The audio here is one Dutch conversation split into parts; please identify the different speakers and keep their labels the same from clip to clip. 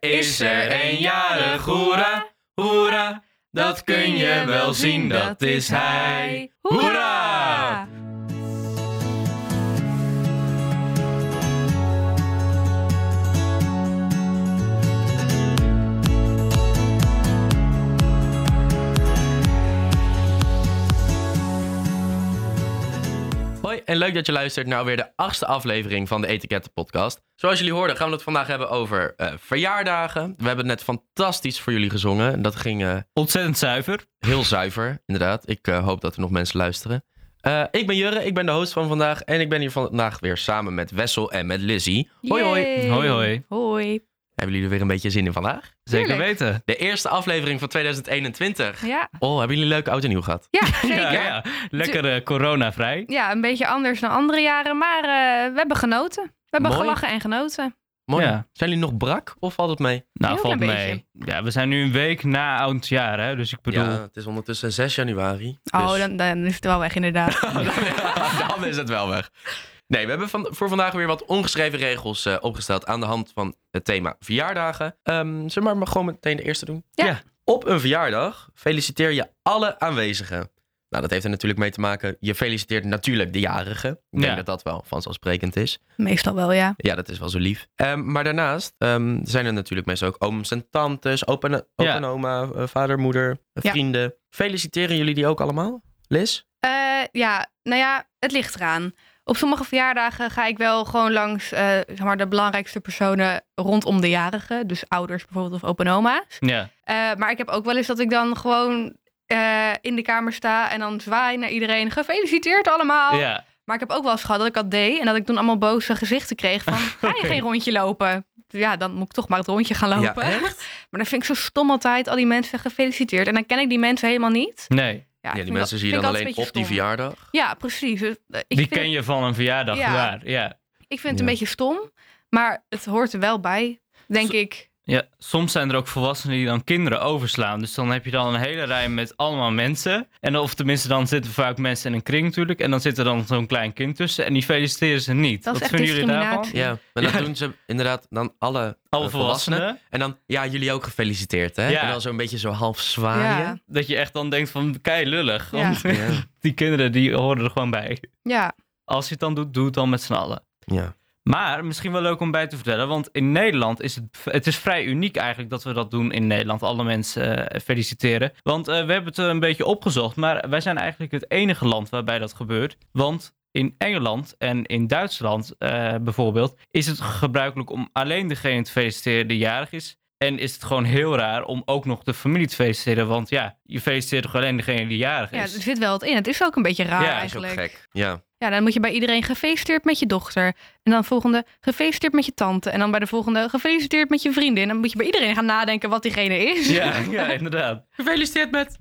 Speaker 1: is er een jarig, hoera, hoera. Dat kun je wel zien, dat is hij. Hoera! Hoi en leuk dat je luistert naar alweer de achtste aflevering van de Etiketten Podcast. Zoals jullie hoorden gaan we het vandaag hebben over eh, verjaardagen. We hebben net fantastisch voor jullie gezongen. Dat ging eh,
Speaker 2: Ontzettend zuiver.
Speaker 1: Heel zuiver, inderdaad. Ik eh, hoop dat er nog mensen luisteren. Eh, ik ben Jurre, ik ben de host van vandaag. En ik ben hier vandaag weer samen met Wessel en met Lizzie. Hoi, hoi.
Speaker 3: Yay.
Speaker 2: Hoi, hoi.
Speaker 3: Hoi.
Speaker 1: Hebben jullie er weer een beetje zin in vandaag?
Speaker 2: Zeker
Speaker 3: Tuurlijk.
Speaker 2: weten.
Speaker 1: De eerste aflevering van 2021.
Speaker 3: Ja,
Speaker 1: Oh, hebben jullie leuk oud en nieuw gehad?
Speaker 3: ja zeker.
Speaker 2: Ja,
Speaker 3: ja.
Speaker 2: ja. Lekker eh, coronavrij.
Speaker 3: een beetje anders dan andere jaren, maar eh, we hebben genoten. We hebben
Speaker 1: Mooi.
Speaker 3: gelachen en genoten.
Speaker 1: Mooi.
Speaker 2: Ja.
Speaker 1: Zijn jullie nog brak of valt het mee?
Speaker 2: Nou,
Speaker 3: Heel
Speaker 2: valt
Speaker 3: klein
Speaker 2: mee. Ja, we zijn nu een week na oud jaar, hè. Dus ik bedoel...
Speaker 1: Ja, het is ondertussen 6 januari.
Speaker 3: Oh,
Speaker 1: dus-
Speaker 3: dan, dan is het wel weg inderdaad.
Speaker 1: dan is het wel weg. Nee, we hebben van, voor vandaag weer wat ongeschreven regels eh, opgesteld aan de hand van het thema verjaardagen. Ehm zullen we maar gewoon meteen de eerste doen?
Speaker 3: Ja.
Speaker 2: Ja.
Speaker 1: Op een verjaardag feliciteer je alle aanwezigen. Nou, dat heeft er natuurlijk mee te maken. Je feliciteert natuurlijk de jarige. Ik denk
Speaker 2: Ja.
Speaker 1: dat dat wel vanzelfsprekend is.
Speaker 3: Meestal wel, ja.
Speaker 1: Ja, dat is wel zo lief. Ehm, maar daarnaast ehm, zijn er natuurlijk mensen ook ooms en tantes, opa en, opa
Speaker 2: Ja.
Speaker 1: en oma, eh, vader, moeder, eh,
Speaker 3: Ja.
Speaker 1: vrienden. Feliciteren jullie die ook allemaal? Liz?
Speaker 3: Eh, ja, nou ja, het ligt eraan. Op sommige verjaardagen ga ik wel gewoon langs eh, zeg maar de belangrijkste personen rondom de jarigen. Dus ouders bijvoorbeeld of opa en oma's.
Speaker 2: Ja.
Speaker 3: Eh, maar ik heb ook wel eens dat ik dan gewoon eh, in de kamer sta en dan zwaai naar iedereen. Gefeliciteerd
Speaker 1: Oh.
Speaker 3: allemaal.
Speaker 2: ja.
Speaker 3: Maar ik heb ook wel eens gehad dat ik dat deed en dat ik toen allemaal boze gezichten kreeg van ga je
Speaker 2: Oké.
Speaker 3: geen rondje lopen? Ja, dan moet ik toch maar het rondje gaan
Speaker 1: Ja,
Speaker 3: lopen.
Speaker 1: echt?
Speaker 3: maar dan vind ik zo stom altijd al die mensen gefeliciteerd en dan ken ik die mensen helemaal niet.
Speaker 2: Nee.
Speaker 3: Ja,
Speaker 1: Ja,
Speaker 3: vind
Speaker 1: die
Speaker 3: ik
Speaker 1: mensen
Speaker 3: al-
Speaker 1: zie
Speaker 3: vind
Speaker 1: je dan
Speaker 3: ik altijd
Speaker 1: alleen
Speaker 3: een
Speaker 1: op
Speaker 3: beetje stom.
Speaker 1: die verjaardag.
Speaker 3: Ja, precies. Dus, eh, Ik
Speaker 2: Die
Speaker 3: vind,
Speaker 2: ken je van een verjaardag,
Speaker 3: Ja.
Speaker 2: waar. Ja.
Speaker 3: ik vind het
Speaker 1: Ja.
Speaker 3: een beetje stom, maar het hoort er wel bij, denk
Speaker 2: Zo-
Speaker 3: ik.
Speaker 2: ja. Soms zijn er ook volwassenen die dan kinderen overslaan. Dus dan heb je dan een hele rij met allemaal mensen. En of tenminste, dan zitten vaak mensen in een kring natuurlijk. En dan zit er dan zo'n klein kind tussen. En die feliciteren ze niet.
Speaker 3: Dat is
Speaker 2: Wat
Speaker 3: echt
Speaker 2: vinden jullie daarvan?
Speaker 3: discriminatie.
Speaker 1: Ja, maar dat
Speaker 2: Ja.
Speaker 1: doen ze inderdaad dan alle, eh,
Speaker 2: Alle volwassenen.
Speaker 1: En dan, ja, jullie ook gefeliciteerd, hè?
Speaker 2: Ja.
Speaker 1: En dan zo'n beetje zo half zwaaien.
Speaker 2: Dat je echt dan denkt van, kei lullig.
Speaker 3: Ja.
Speaker 2: Want
Speaker 1: Ja. ja.
Speaker 2: die kinderen die horen er gewoon bij.
Speaker 3: Ja,
Speaker 2: Als je het dan doet, doe het dan met z'n allen. Maar misschien wel leuk om bij te vertellen, want in Nederland is het, het is vrij uniek eigenlijk dat we dat doen in Nederland. Alle mensen eh, feliciteren. Want eh, we hebben het eh, een beetje opgezocht, maar wij zijn eigenlijk het enige land waarbij dat gebeurt. Want in Engeland en in Duitsland eh, bijvoorbeeld is het gebruikelijk om alleen degene te feliciteren die jarig is. En is het gewoon heel raar om ook nog de familie te feliciteren, want ja, je feliciteert toch alleen degene die jarig
Speaker 3: ja, er
Speaker 2: is.
Speaker 3: zit wel wat in. Het is ook een beetje raar
Speaker 2: Ja, is ook
Speaker 1: is ook
Speaker 3: eigenlijk.
Speaker 1: gek. Ja.
Speaker 3: Ja, dan moet je bij iedereen gefeliciteerd met je dochter. En dan volgende gefeliciteerd met je tante. En dan bij de volgende gefeliciteerd met je vriendin. Dan moet je bij iedereen gaan nadenken wat diegene is.
Speaker 2: Ja, ja, inderdaad.
Speaker 1: Gefeliciteerd met...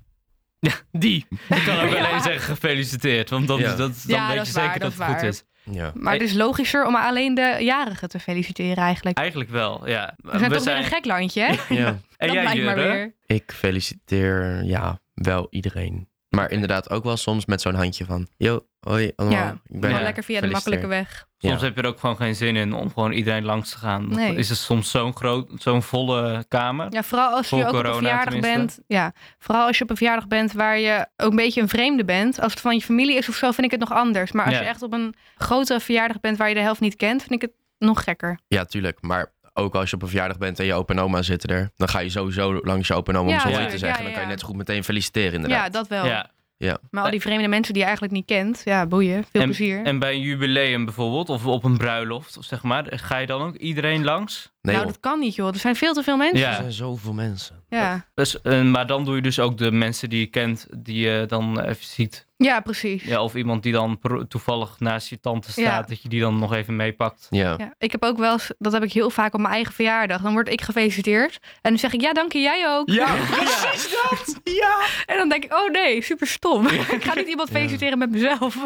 Speaker 2: Die. Ik kan ook alleen zeggen gefeliciteerd, want dan,
Speaker 1: Ja.
Speaker 2: dat, dan
Speaker 3: Ja,
Speaker 2: weet
Speaker 3: dat
Speaker 2: je
Speaker 3: is waar,
Speaker 2: zeker dat het
Speaker 3: dat is
Speaker 2: goed is.
Speaker 3: waar.
Speaker 1: Ja.
Speaker 3: Maar het is logischer om alleen de jarigen te feliciteren eigenlijk.
Speaker 2: Eigenlijk wel, ja.
Speaker 3: We zijn toch weer een gek landje, hè?
Speaker 1: ja.
Speaker 2: En
Speaker 3: dat
Speaker 2: jij,
Speaker 3: blijkt maar
Speaker 2: Jurre?
Speaker 3: weer.
Speaker 1: Ik feliciteer, ja, wel iedereen. Maar inderdaad ook wel soms met zo'n handje van... Yo, hoi allemaal.
Speaker 3: Ja,
Speaker 1: ik
Speaker 3: Gewoon
Speaker 1: er.
Speaker 3: lekker via de makkelijke weg.
Speaker 2: Soms
Speaker 1: Ja.
Speaker 2: heb je er ook gewoon geen zin in om gewoon iedereen langs te gaan. Dan
Speaker 3: Nee.
Speaker 2: is het soms zo'n groot, zo'n volle kamer.
Speaker 3: Ja, vooral als je
Speaker 2: Voor
Speaker 3: ook op een
Speaker 2: corona
Speaker 3: verjaardag
Speaker 2: tenminste.
Speaker 3: bent. Ja, vooral als je op een verjaardag bent waar je ook een beetje een vreemde bent. Als het van je familie is of zo, vind ik het nog anders. Maar als
Speaker 2: Ja.
Speaker 3: je echt op een grotere verjaardag bent waar je de helft niet kent, vind ik het nog gekker.
Speaker 1: Ja, tuurlijk. Maar ook als je op een verjaardag bent en je opa en oma zitten er... dan ga je sowieso langs je opa en oma
Speaker 3: Ja,
Speaker 1: om zo te
Speaker 3: tuurlijk.
Speaker 1: zeggen.
Speaker 3: Ja,
Speaker 1: Dan kan je
Speaker 3: ja.
Speaker 1: net zo goed meteen feliciteren, inderdaad.
Speaker 3: Ja, dat wel.
Speaker 2: Ja.
Speaker 3: Maar al die vreemde mensen die je eigenlijk niet kent, ja, boeien. Veel plezier.
Speaker 2: En bij een jubileum bijvoorbeeld, of op een bruiloft, of zeg maar, ga je dan ook iedereen langs?
Speaker 1: Nee,
Speaker 3: nou,
Speaker 1: joh.
Speaker 3: dat kan niet, joh. Er zijn veel te veel mensen.
Speaker 1: Er
Speaker 2: Ja.
Speaker 1: zijn zoveel mensen.
Speaker 3: Ja,
Speaker 2: Dus, eh, maar dan doe je dus ook de mensen die je kent, die je dan even ziet.
Speaker 3: ja precies. Ja.
Speaker 2: Ja, of iemand die dan per- toevallig naast je tante staat,
Speaker 3: Ja.
Speaker 2: dat je die dan nog even meepakt.
Speaker 1: Ja.
Speaker 3: Ik heb ook wel eens, dat heb ik heel vaak op mijn eigen verjaardag. Dan word ik gefeliciteerd. En dan zeg ik, ja, dank je, jij ook.
Speaker 1: precies dat! Ja!
Speaker 3: En dan denk ik, oh nee, super stom. ik ga niet iemand
Speaker 1: Ja.
Speaker 3: feliciteren met mezelf.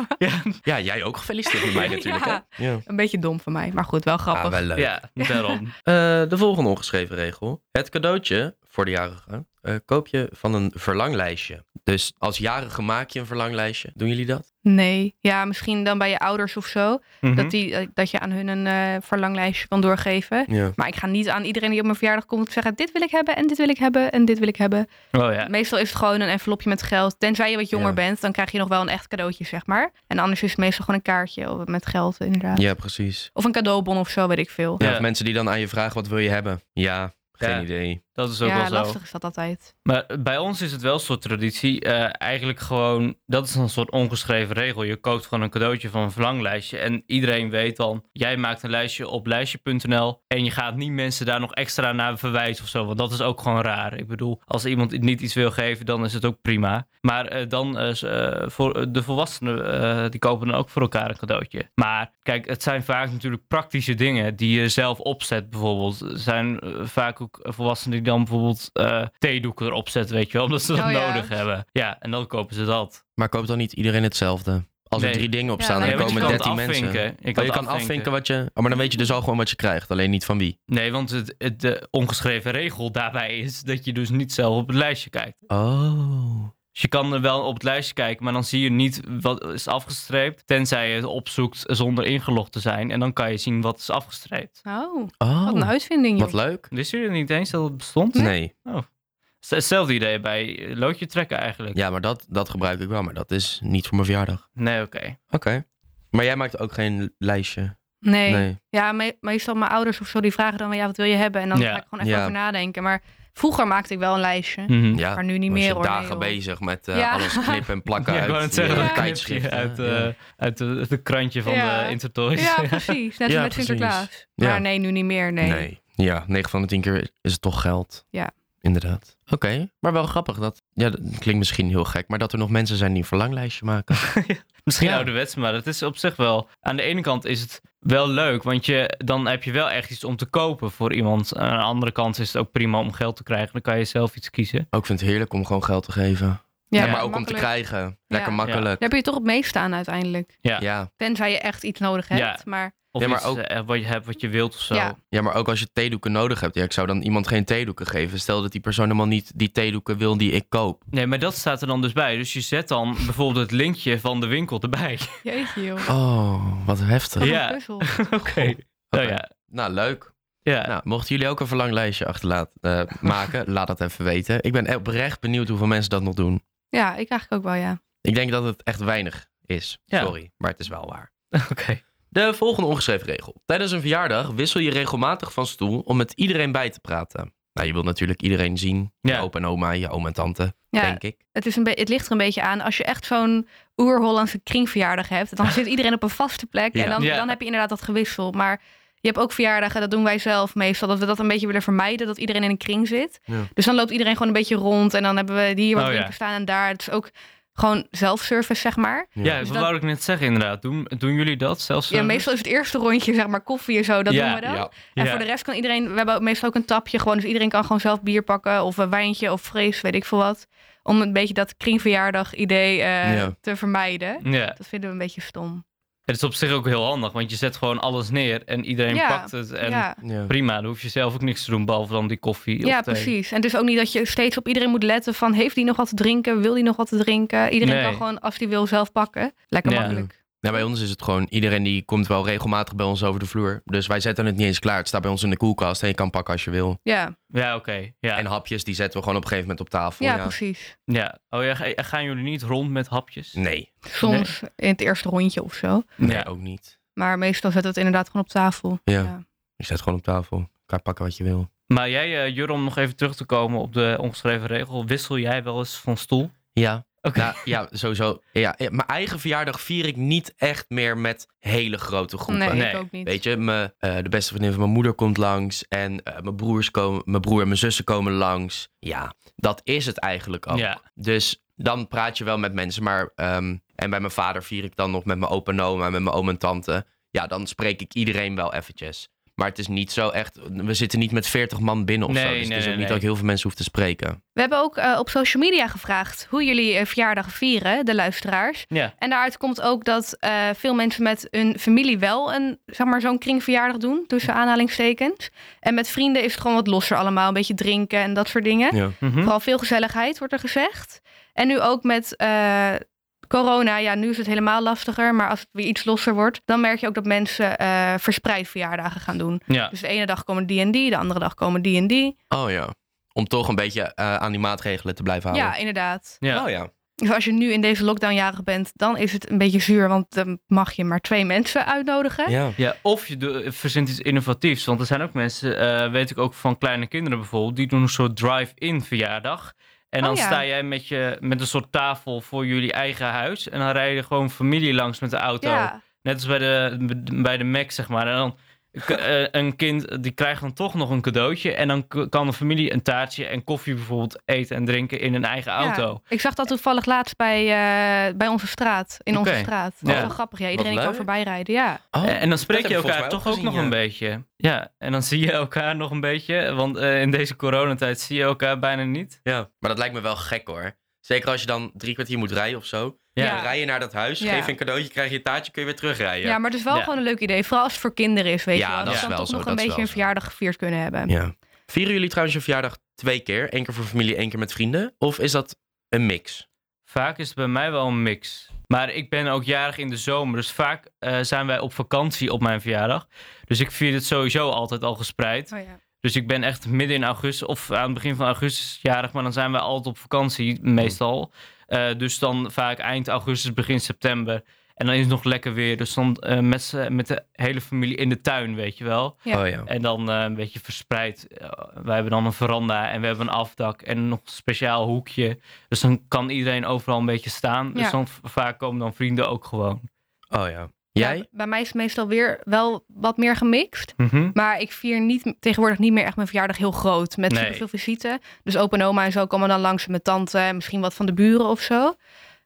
Speaker 1: Ja, jij ook gefeliciteerd met mij natuurlijk.
Speaker 3: Ja.
Speaker 1: hè? ja.
Speaker 3: Een beetje dom van mij, maar goed, wel grappig.
Speaker 1: Ah, wel leuk.
Speaker 2: Ja, daarom.
Speaker 1: Eh, de volgende ongeschreven regel. Het cadeautje voor de jarige, eh, koop je van een verlanglijstje. Dus als jarige maak je een verlanglijstje. Doen jullie dat?
Speaker 3: Nee. Ja, misschien dan bij je ouders of zo.
Speaker 2: Mhm.
Speaker 3: Dat, die, dat je aan hun een eh, verlanglijstje kan doorgeven.
Speaker 1: Ja.
Speaker 3: Maar ik ga niet aan iedereen die op mijn verjaardag komt zeggen: dit wil ik hebben en dit wil ik hebben en dit wil ik hebben.
Speaker 2: Oh ja.
Speaker 3: Meestal is het gewoon een envelopje met geld. Tenzij je wat jonger
Speaker 1: Ja.
Speaker 3: bent, dan krijg je nog wel een echt cadeautje, zeg maar. En anders is het meestal gewoon een kaartje of met geld, inderdaad.
Speaker 1: Ja, precies.
Speaker 3: Of een cadeaubon of zo, weet ik veel.
Speaker 1: Ja,
Speaker 2: Ja.
Speaker 1: of mensen die dan aan je vragen, wat wil je hebben? Ja, geen
Speaker 2: Ja.
Speaker 1: idee.
Speaker 2: Dat is ook
Speaker 3: Ja,
Speaker 2: wel zo.
Speaker 3: lastig is dat altijd.
Speaker 2: Maar bij ons is het wel een soort traditie. eh, eigenlijk gewoon, dat is een soort ongeschreven regel. Je koopt gewoon een cadeautje van een verlanglijstje. En iedereen weet dan, jij maakt een lijstje op lijstje.nl. En je gaat niet mensen daar nog extra naar verwijzen of zo. Want dat is ook gewoon raar. Ik bedoel, als iemand niet iets wil geven, dan is het ook prima. Maar eh, dan, eh, s- eh, voor eh, de volwassenen, eh, die kopen dan ook voor elkaar een cadeautje. Maar kijk, het zijn vaak natuurlijk praktische dingen die je zelf opzet bijvoorbeeld. Er zijn eh, vaak ook volwassenen die dan bijvoorbeeld eh, theedoeken erop zetten, weet je wel. Omdat ze dat
Speaker 3: Oh ja.
Speaker 2: nodig hebben. Ja, en dan kopen ze dat.
Speaker 1: Maar koop dan niet iedereen hetzelfde. Als er
Speaker 2: Nee.
Speaker 1: drie dingen op
Speaker 3: Ja,
Speaker 1: staan,
Speaker 3: nee,
Speaker 1: dan
Speaker 2: want
Speaker 3: want
Speaker 2: je
Speaker 1: komen
Speaker 2: kan het
Speaker 1: 13 mensen.
Speaker 2: afvinken. Je
Speaker 1: Maar
Speaker 2: kan
Speaker 1: je
Speaker 2: het
Speaker 1: kan afvinken wat je... Oh, maar dan weet je dus al gewoon wat je krijgt. Alleen niet van wie.
Speaker 2: Nee, want het, het, de ongeschreven regel daarbij is dat je dus niet zelf op het lijstje kijkt.
Speaker 1: Oh.
Speaker 2: Dus je kan er wel op het lijstje kijken, maar dan zie je niet wat is afgestreept. Tenzij je het opzoekt zonder ingelogd te zijn. En dan kan je zien wat is afgestreept.
Speaker 3: Oh,
Speaker 1: Oh.
Speaker 3: wat een uitvinding, joh.
Speaker 1: Wat leuk.
Speaker 2: Wisten jullie niet eens dat het bestond?
Speaker 1: Nee.
Speaker 2: Het is Hetzelfde idee bij eh, loodje trekken eigenlijk.
Speaker 1: Ja, maar dat, dat gebruik ik wel. Maar dat is niet voor mijn verjaardag.
Speaker 2: Nee, oké.
Speaker 1: Oké. Maar jij maakt ook geen lijstje.
Speaker 3: nee.
Speaker 1: Nee.
Speaker 3: Ja, me- meestal mijn ouders of zo, die vragen dan wel, ja, wat wil je hebben? En dan
Speaker 2: Ja.
Speaker 3: ga ik gewoon even
Speaker 1: Ja.
Speaker 3: over nadenken. Maar vroeger maakte ik wel een lijstje,
Speaker 2: Mhm.
Speaker 1: Ja.
Speaker 3: Hm. maar nu niet
Speaker 1: was
Speaker 3: meer
Speaker 1: je
Speaker 3: hoor. nee,
Speaker 1: dagen
Speaker 3: joh.
Speaker 1: bezig met eh,
Speaker 3: Ja.
Speaker 1: alles knippen en plakken
Speaker 2: Ja, ik
Speaker 1: uit
Speaker 2: wou net zeggen,
Speaker 1: die,
Speaker 3: dat
Speaker 1: eh,
Speaker 2: knip je
Speaker 1: tijdschriften.
Speaker 2: uit,
Speaker 1: Ja.
Speaker 2: eh, uit de- het krantje van
Speaker 3: Ja.
Speaker 2: de Intertoys.
Speaker 3: Ja, precies. Net als
Speaker 1: Ja,
Speaker 3: met
Speaker 1: precies.
Speaker 3: Sinterklaas.
Speaker 1: Ja.
Speaker 3: Maar nee, nu niet meer, nee.
Speaker 1: nee. Ja, 9 van de 10 keer is het toch geld.
Speaker 3: Ja.
Speaker 1: Inderdaad. Oké, maar wel grappig dat. Ja, dat klinkt misschien heel gek, maar dat er nog mensen zijn die een verlanglijstje maken.
Speaker 2: Misschien
Speaker 1: Ja.
Speaker 2: ouderwets, maar het is op zich wel. Aan de ene kant is het wel leuk, want je, dan heb je wel echt iets om te kopen voor iemand. Aan de andere kant is het ook prima om geld te krijgen. Dan kan je zelf iets kiezen.
Speaker 1: Ook vind het heerlijk om gewoon geld te geven. Ja, maar ook om te
Speaker 3: makkelijk.
Speaker 1: krijgen. Lekker
Speaker 3: Ja.
Speaker 1: makkelijk.
Speaker 3: Daar heb je toch het meeste aan uiteindelijk.
Speaker 1: Ja.
Speaker 2: Ja.
Speaker 1: Ja.
Speaker 3: Tenzij je echt iets nodig hebt.
Speaker 2: Ja.
Speaker 3: Maar
Speaker 2: Of
Speaker 1: Ja, maar
Speaker 2: iets
Speaker 1: ook-
Speaker 2: eh, wat je hebt, wat je wilt of zo.
Speaker 3: Ja.
Speaker 1: maar ook als je theedoeken nodig hebt. Ja, ik zou dan iemand geen theedoeken geven. Stel dat die persoon helemaal niet die theedoeken wil die ik koop.
Speaker 2: Nee, maar dat staat er dan dus bij. Dus je zet dan bijvoorbeeld het linkje van de winkel erbij.
Speaker 3: jeetje joh.
Speaker 1: Oh, wat heftig.
Speaker 3: Wat
Speaker 2: Ja.
Speaker 3: een puzzel.
Speaker 2: Oké. Nou ja.
Speaker 1: Nou, leuk.
Speaker 2: ja.
Speaker 1: Nou, mochten jullie ook een verlanglijstje achterlaten eh, maken, laat dat even weten. Ik ben oprecht benieuwd hoeveel mensen dat nog doen.
Speaker 3: Ja, ik eigenlijk ook wel, ja.
Speaker 1: Ik denk dat het echt weinig is.
Speaker 2: Ja.
Speaker 1: Sorry, maar het is wel waar.
Speaker 2: Nou, Oké.
Speaker 1: De volgende ongeschreven regel. Tijdens een verjaardag wissel je regelmatig van stoel om met iedereen bij te praten. Nou, je wilt natuurlijk iedereen zien.
Speaker 2: Ja.
Speaker 1: Je opa en oma, je oom en tante,
Speaker 3: Ja,
Speaker 1: denk ik.
Speaker 3: het, is een be- het ligt er een beetje aan. Als je echt zo'n oer-Hollandse kringverjaardag hebt, dan zit iedereen op een vaste plek.
Speaker 1: Ja.
Speaker 3: En dan,
Speaker 2: Ja.
Speaker 3: dan heb je inderdaad dat gewissel. Maar je hebt ook verjaardagen, dat doen wij zelf meestal, dat we dat een beetje willen vermijden, dat iedereen in een kring zit.
Speaker 1: Ja.
Speaker 3: Dus dan loopt iedereen gewoon een beetje rond en dan hebben we hier wat
Speaker 2: Oh, ja.
Speaker 3: drinken staan en daar. Het is ook gewoon zelfservice, zeg maar.
Speaker 2: Ja,
Speaker 3: Dus
Speaker 2: wat
Speaker 3: dat-
Speaker 2: wou ik net zeggen inderdaad. Doen, doen jullie dat zelfs?
Speaker 3: Ja,
Speaker 2: eh?
Speaker 3: meestal is het eerste rondje, zeg maar, koffie en zo, dat
Speaker 2: Ja,
Speaker 3: doen we dan.
Speaker 1: Ja.
Speaker 3: En
Speaker 2: Ja.
Speaker 3: voor de rest kan iedereen, we hebben ook meestal ook een tapje gewoon, dus iedereen kan gewoon zelf bier pakken of een wijntje of vrees, weet ik veel wat. Om een beetje dat kringverjaardag idee eh,
Speaker 1: Ja.
Speaker 3: te vermijden.
Speaker 2: Ja.
Speaker 3: Dat vinden we een beetje stom.
Speaker 2: Het is op zich ook heel handig, want je zet gewoon alles neer en iedereen
Speaker 3: Ja.
Speaker 2: pakt het. En
Speaker 3: ja,
Speaker 1: Ja.
Speaker 2: prima, dan hoef je zelf ook niks te doen, behalve dan die koffie of
Speaker 3: ja
Speaker 2: thee.
Speaker 3: precies. En dus ook niet dat je steeds op iedereen moet letten van heeft die nog wat te drinken, wil die nog wat te drinken. Iedereen
Speaker 2: Nee.
Speaker 3: kan gewoon als die wil zelf pakken. Lekker
Speaker 2: Ja.
Speaker 3: makkelijk.
Speaker 1: Ja, bij ons is het gewoon, iedereen die komt wel regelmatig bij ons over de vloer. Dus wij zetten het niet eens klaar. Het staat bij ons in de koelkast en je kan pakken als je wil.
Speaker 3: Ja,
Speaker 2: Ja, oké. Ja.
Speaker 1: En hapjes, die zetten we gewoon op een gegeven moment op tafel.
Speaker 3: ja,
Speaker 1: ja.
Speaker 3: precies.
Speaker 2: ja. Oh ja, ga- gaan jullie niet rond met hapjes?
Speaker 1: Nee,
Speaker 3: Soms in het eerste rondje of zo.
Speaker 1: nee,
Speaker 2: Ja.
Speaker 1: ook niet.
Speaker 3: Maar meestal zet het inderdaad gewoon op tafel.
Speaker 1: Ja. Je zet gewoon op tafel. Kan pakken wat je wil.
Speaker 2: Maar jij, eh, Jur, om nog even terug te komen op de ongeschreven regel, wissel jij wel eens van stoel?
Speaker 1: Ja.
Speaker 2: Oké.
Speaker 1: Nou, ja, sowieso. Ja, ja, mijn eigen verjaardag vier ik niet echt meer met hele grote groepen.
Speaker 3: Nee,
Speaker 2: Nee.
Speaker 3: ik ook niet.
Speaker 1: Weet je, mijn, eh, de beste vriendin van mijn moeder komt langs. En eh, mijn, broers komen, mijn broer en mijn zussen komen langs. Ja, dat is het eigenlijk ook.
Speaker 2: Ja.
Speaker 1: Dus dan praat je wel met mensen. Maar, ehm, en bij mijn vader vier ik dan nog met mijn opa en oma, met mijn oom en tante. Ja, dan spreek ik iedereen wel eventjes. Maar het is niet zo echt. We zitten niet met 40 man binnen of
Speaker 2: Nee,
Speaker 1: zo. Dus
Speaker 2: nee,
Speaker 1: het is ook
Speaker 2: nee,
Speaker 1: niet
Speaker 2: nee.
Speaker 1: dat ik heel veel mensen hoef te spreken.
Speaker 3: We hebben ook eh, op social media gevraagd hoe jullie eh, verjaardag vieren, de luisteraars.
Speaker 2: Ja.
Speaker 3: En daaruit komt ook dat eh, veel mensen met hun familie wel een, zeg maar, zo'n kringverjaardag doen, tussen aanhalingstekens. En met vrienden is het gewoon wat losser allemaal, een beetje drinken en dat soort dingen.
Speaker 1: Ja.
Speaker 2: Mhm.
Speaker 3: Vooral veel gezelligheid wordt er gezegd. En nu ook met eh, corona, ja, nu is het helemaal lastiger. Maar als het weer iets losser wordt, dan merk je ook dat mensen eh, verspreid verjaardagen gaan doen.
Speaker 2: Ja.
Speaker 3: Dus de ene dag komen die en die, de andere dag komen die en die.
Speaker 1: Oh ja. Om toch een beetje eh, aan die maatregelen te blijven houden.
Speaker 3: Ja, inderdaad.
Speaker 2: Ja.
Speaker 1: Oh ja.
Speaker 3: Dus als je nu in deze lockdownjarig bent, dan is het een beetje zuur, want dan mag je maar twee mensen uitnodigen.
Speaker 1: ja.
Speaker 2: Ja, of je do- verzint iets innovatiefs. Want er zijn ook mensen, eh, weet ik ook van kleine kinderen bijvoorbeeld, die doen een soort drive-in verjaardag. En
Speaker 3: Oh
Speaker 2: dan
Speaker 3: ja.
Speaker 2: sta jij met, je, met een soort tafel voor jullie eigen huis. En dan rijden gewoon familie langs met de auto.
Speaker 3: Ja,
Speaker 2: Net als bij de, bij de Mac, zeg maar. En dan k- eh, een kind die krijgt dan toch nog een cadeautje. En dan k- kan de familie een taartje en koffie bijvoorbeeld eten en drinken in een eigen
Speaker 3: Ja.
Speaker 2: auto.
Speaker 3: ik zag dat toevallig laatst bij, eh, bij onze straat, in
Speaker 2: Oké.
Speaker 3: onze straat. Dat
Speaker 2: Ja.
Speaker 3: is wel grappig, ja. Iedereen
Speaker 1: leuk.
Speaker 3: kan voorbij rijden, ja.
Speaker 1: Oh,
Speaker 2: Eh, En- en dan spreek
Speaker 1: dat
Speaker 2: je
Speaker 1: heb ik volgens
Speaker 2: elkaar
Speaker 1: mij
Speaker 2: toch
Speaker 1: ook
Speaker 2: ook nog
Speaker 1: gezien,
Speaker 2: een
Speaker 1: ja.
Speaker 2: beetje. Ja, en dan zie je elkaar nog een beetje. Want eh, in deze coronatijd zie je elkaar bijna niet.
Speaker 1: ja. Maar dat lijkt me wel gek hoor. Zeker als je dan drie kwartier moet rijden of zo.
Speaker 2: Ja.
Speaker 1: Dan rij je naar dat huis,
Speaker 3: Ja.
Speaker 1: geef je een cadeautje, krijg je een taartje, kun je weer terugrijden.
Speaker 3: Ja, maar het is wel
Speaker 2: Ja.
Speaker 3: gewoon een leuk idee. Vooral als het voor kinderen is, weet
Speaker 1: Ja,
Speaker 3: je wel.
Speaker 1: dat
Speaker 2: is
Speaker 3: ze
Speaker 1: wel
Speaker 3: dan toch
Speaker 1: zo,
Speaker 3: nog
Speaker 1: dat
Speaker 3: een
Speaker 1: is
Speaker 3: beetje
Speaker 1: wel
Speaker 3: een
Speaker 1: zo.
Speaker 3: verjaardag gevierd kunnen hebben.
Speaker 1: Ja. Vieren jullie trouwens je verjaardag twee keer? Eén keer voor familie, één keer met vrienden? Of is dat een mix?
Speaker 2: Vaak is het bij mij wel een mix. Maar ik ben ook jarig in de zomer. Dus vaak eh, zijn wij op vakantie op mijn verjaardag. Dus ik vier het sowieso altijd al gespreid.
Speaker 3: Oh, ja.
Speaker 2: Dus ik ben echt midden in augustus of aan het begin van augustus jarig, maar dan zijn we altijd op vakantie, meestal. Eh, dus dan vaak eind augustus, begin september. En dan is het nog lekker weer. Dus dan eh, met, z'n- met de hele familie in de tuin, weet je wel.
Speaker 3: Ja.
Speaker 1: Oh ja.
Speaker 2: En dan eh, een beetje verspreid. Eh, wij hebben dan een veranda en we hebben een afdak en nog een speciaal hoekje. Dus dan kan iedereen overal een beetje staan. Dus
Speaker 3: Ja.
Speaker 2: dan v- vaak komen dan vrienden ook gewoon.
Speaker 1: Oh ja. Jij?
Speaker 3: Ja, bij mij is het meestal weer wel wat meer gemixt.
Speaker 2: Mhm.
Speaker 3: Maar ik vier niet, tegenwoordig niet meer echt mijn verjaardag heel groot. Met
Speaker 2: Nee.
Speaker 3: superveel visite. Dus opa en oma en zo komen dan langs. en Mijn tante en misschien wat van de buren of zo.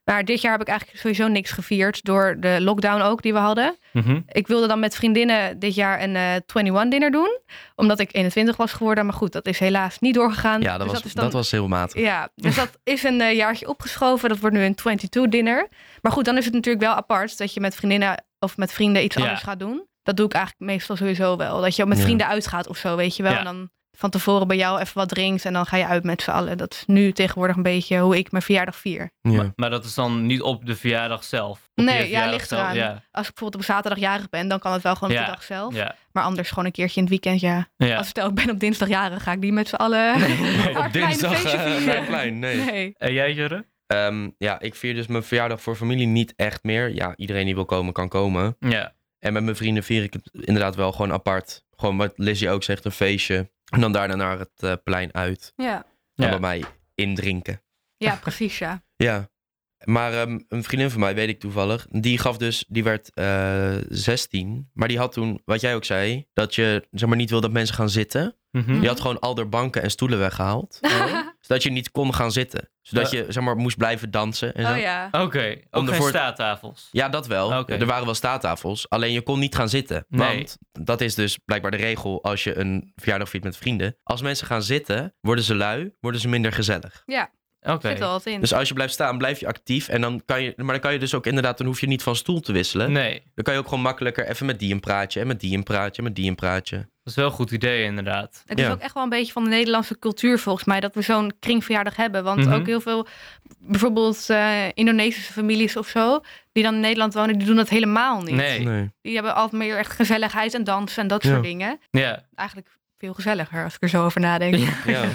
Speaker 3: Maar dit jaar heb ik eigenlijk sowieso niks gevierd. Door de lockdown ook die we hadden.
Speaker 2: Mhm.
Speaker 3: Ik wilde dan met vriendinnen dit jaar een eh 21 dinner doen. Omdat ik 21 was geworden. Maar goed, dat is helaas niet doorgegaan.
Speaker 1: Ja, dat,
Speaker 3: Dus
Speaker 1: was,
Speaker 3: is
Speaker 1: dat,
Speaker 3: dan-
Speaker 1: was heel matig.
Speaker 3: Ja, dus dat is een eh, jaartje opgeschoven. Dat wordt nu een 22-dinner. Maar goed, dan is het natuurlijk wel apart dat je met vriendinnen of met vrienden iets
Speaker 2: Ja.
Speaker 3: anders gaat doen. Dat doe ik eigenlijk meestal sowieso wel. Dat je met
Speaker 1: Ja.
Speaker 3: vrienden uitgaat of zo, weet je wel.
Speaker 2: Ja.
Speaker 3: En dan van tevoren bij jou even wat drinkt en dan ga je uit met z'n allen. Dat is nu tegenwoordig een beetje hoe ik mijn verjaardag vier.
Speaker 2: Maar, maar dat is dan niet op de verjaardag zelf. Op
Speaker 3: Nee,
Speaker 2: je
Speaker 3: ja,
Speaker 2: verjaardag
Speaker 3: ligt
Speaker 2: zelf,
Speaker 3: eraan.
Speaker 2: Ja,
Speaker 3: Als ik bijvoorbeeld op zaterdag jarig ben, dan kan het wel gewoon op
Speaker 2: Ja.
Speaker 3: de dag zelf.
Speaker 2: ja,
Speaker 3: Maar anders gewoon een keertje in het weekend, ja.
Speaker 2: ja.
Speaker 3: Als ik stel ik ben op dinsdag jarig, ga ik niet met z'n allen
Speaker 1: Op
Speaker 3: haar kleine
Speaker 1: dinsdag
Speaker 3: feestje
Speaker 1: eh,
Speaker 3: vieren.
Speaker 1: bij Klein, nee.
Speaker 3: Nee.
Speaker 2: En jij, Jurre?
Speaker 1: Ehm, ja, ik vier dus mijn verjaardag voor familie niet echt meer. Ja, iedereen die wil komen, kan komen.
Speaker 2: Ja.
Speaker 1: En met mijn vrienden vier ik het inderdaad wel gewoon apart. Gewoon wat Lizzie ook zegt, een feestje. En dan daarna naar het eh, plein uit.
Speaker 3: Ja.
Speaker 1: En
Speaker 2: Ja.
Speaker 1: bij mij indrinken.
Speaker 3: ja, precies, ja.
Speaker 1: Ja. Maar ehm, een vriendin van mij, weet ik toevallig, die gaf dus, die werd eh 16. Maar die had toen, wat jij ook zei, dat je zeg maar niet wil dat mensen gaan zitten.
Speaker 2: Mhm.
Speaker 1: Die had gewoon al haar banken en stoelen weggehaald. zodat je niet kon gaan zitten. Zodat je zeg maar moest blijven dansen en zo.
Speaker 3: Oh ja.
Speaker 2: Oké, ook
Speaker 1: de
Speaker 2: geen
Speaker 1: voor-
Speaker 2: staattafels.
Speaker 1: Ja, dat wel.
Speaker 2: Ah, Oké.
Speaker 1: Er waren wel staattafels. Alleen je kon niet gaan zitten.
Speaker 2: Nee.
Speaker 1: Want dat is dus blijkbaar de regel als je een verjaardag viert met vrienden. Als mensen gaan zitten, worden ze lui, worden ze minder gezellig.
Speaker 2: Oké.
Speaker 3: Zit er wat in.
Speaker 1: Dus als je blijft staan, blijf je actief. En dan kan je, maar dan kan je dus ook inderdaad, dan hoef je niet van stoel te wisselen.
Speaker 2: Nee,
Speaker 1: Dan kan je ook gewoon makkelijker even met die een praatje en met die een praatje en met die een praatje.
Speaker 2: dat is wel een goed idee inderdaad.
Speaker 3: Het is
Speaker 1: Ja.
Speaker 3: ook echt wel een beetje van de Nederlandse cultuur volgens mij dat we zo'n kringverjaardag hebben. Want
Speaker 2: Mhm.
Speaker 3: ook heel veel, bijvoorbeeld eh, Indonesische families of zo, die dan in Nederland wonen, die doen dat helemaal niet.
Speaker 2: Nee.
Speaker 3: Die hebben altijd meer echt gezelligheid en dansen en dat
Speaker 1: Ja.
Speaker 3: soort dingen.
Speaker 2: Ja.
Speaker 3: Eigenlijk veel gezelliger als ik er zo over nadenk. Ja,
Speaker 1: Ja.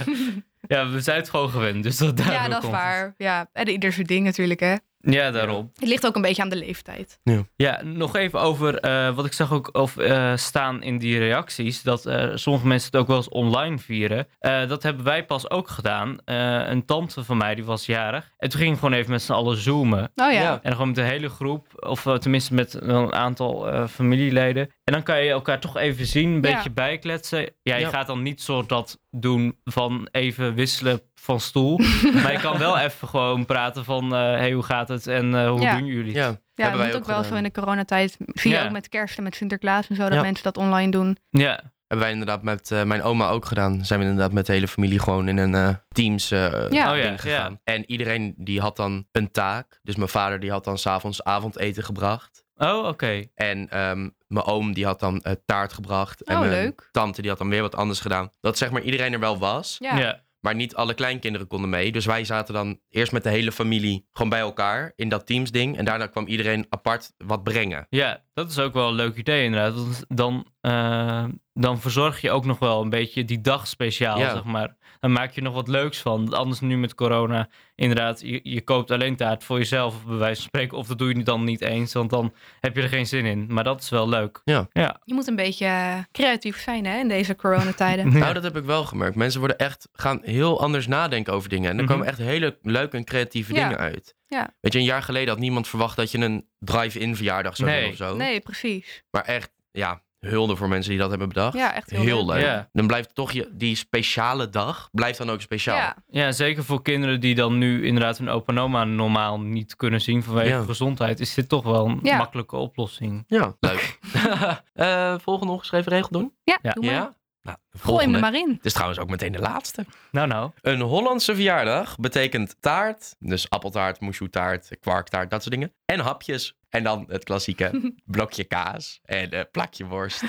Speaker 2: ja, we zijn het gewoon gewend, dus dat daardoor
Speaker 3: dat is
Speaker 2: komt het.
Speaker 3: waar. Ja, en ieder zijn ding natuurlijk hè.
Speaker 2: Ja, daarom.
Speaker 3: Het ligt ook een beetje aan de leeftijd.
Speaker 2: Ja, nog even over eh, wat ik zag ook of, eh, staan in die reacties. Dat eh, sommige mensen het ook wel eens online vieren. Eh, dat hebben wij pas ook gedaan. Eh, een tante van mij die was jarig. En toen ging ik gewoon even met z'n allen zoomen.
Speaker 3: Oh ja.
Speaker 1: Ja.
Speaker 2: En gewoon met de hele groep, of eh, tenminste met een aantal eh, familieleden. En dan kan je elkaar toch even zien, een
Speaker 3: Ja.
Speaker 2: beetje bijkletsen. Ja, je
Speaker 1: Ja.
Speaker 2: gaat dan niet soort dat doen van even wisselen van stoel. maar je kan wel even gewoon praten van, eh hey, hoe gaat het en eh, hoe
Speaker 3: Ja.
Speaker 2: doen jullie het?
Speaker 1: Ja.
Speaker 3: Ja,
Speaker 1: Hebben
Speaker 3: dat
Speaker 1: wij
Speaker 3: is ook
Speaker 1: ook
Speaker 3: wel zo
Speaker 1: gedaan.
Speaker 3: in de coronatijd. Zie je
Speaker 2: Ja.
Speaker 3: ook met kerst en met Sinterklaas en zo dat
Speaker 1: Ja.
Speaker 3: mensen dat online doen.
Speaker 2: Ja.
Speaker 1: Hebben wij inderdaad met eh, mijn oma ook gedaan. Zijn we inderdaad met de hele familie gewoon in een eh, teams eh,
Speaker 3: Ja.
Speaker 2: Oh ja,
Speaker 1: ding
Speaker 2: ja.
Speaker 1: gegaan. En iedereen die had dan een taak. Dus mijn vader die had dan s'avonds avondeten gebracht.
Speaker 2: Oh, oké.
Speaker 1: En ehm, mijn oom die had dan eh, taart gebracht. En
Speaker 3: Oh,
Speaker 1: mijn
Speaker 3: leuk.
Speaker 1: tante die had dan weer wat anders gedaan. Dat zeg maar iedereen er wel was.
Speaker 3: Ja.
Speaker 2: ja.
Speaker 1: Maar niet alle kleinkinderen konden mee. Dus wij zaten dan eerst met de hele familie gewoon bij elkaar in dat teams ding. En daarna kwam iedereen apart wat brengen.
Speaker 2: Ja, dat is ook wel een leuk idee inderdaad. Want dan, eh, dan verzorg je ook nog wel een beetje die dag speciaal,
Speaker 1: Ja.
Speaker 2: zeg maar. Dan maak je nog wat leuks van. Anders nu met corona, inderdaad, je, je koopt alleen taart voor jezelf, bij wijze van spreken. Of dat doe je dan niet eens, want dan heb je er geen zin in. Maar dat is wel leuk.
Speaker 3: Je moet een beetje eh, creatief zijn hè, in deze coronatijden.
Speaker 1: Nou, dat heb ik wel gemerkt. Mensen worden echt, gaan heel anders nadenken over dingen. En er
Speaker 2: Mhm.
Speaker 1: komen echt hele leuke en creatieve
Speaker 3: Ja.
Speaker 1: dingen uit.
Speaker 3: Ja.
Speaker 1: Weet je, een jaar geleden had niemand verwacht dat je een drive-in verjaardag zou
Speaker 2: Nee.
Speaker 1: doen of zo.
Speaker 3: Nee, precies.
Speaker 1: Maar echt, ja, hulde voor mensen die dat hebben bedacht.
Speaker 3: Ja, echt heel,
Speaker 1: leuk.
Speaker 2: Ja.
Speaker 1: Dan blijft toch je, die speciale dag, blijft dan ook speciaal.
Speaker 3: Ja.
Speaker 2: Ja, zeker voor kinderen die dan nu inderdaad hun opa en oma normaal niet kunnen zien vanwege
Speaker 1: Ja.
Speaker 2: gezondheid, is dit toch wel een
Speaker 3: Ja.
Speaker 2: makkelijke oplossing.
Speaker 1: Ja, leuk. Eh, volgende ongeschreven regel doen?
Speaker 3: Ja,
Speaker 2: Ja.
Speaker 3: doe maar.
Speaker 1: Ja? Nou, de
Speaker 3: Gooi hem
Speaker 1: volgende.
Speaker 3: er maar in.
Speaker 1: Het is trouwens ook meteen de laatste.
Speaker 2: Nou, nou.
Speaker 1: Een Hollandse verjaardag betekent taart, dus appeltaart, moesjoetaart, kwarktaart, dat soort dingen. En hapjes. En dan het klassieke blokje kaas en eh, plakje worst.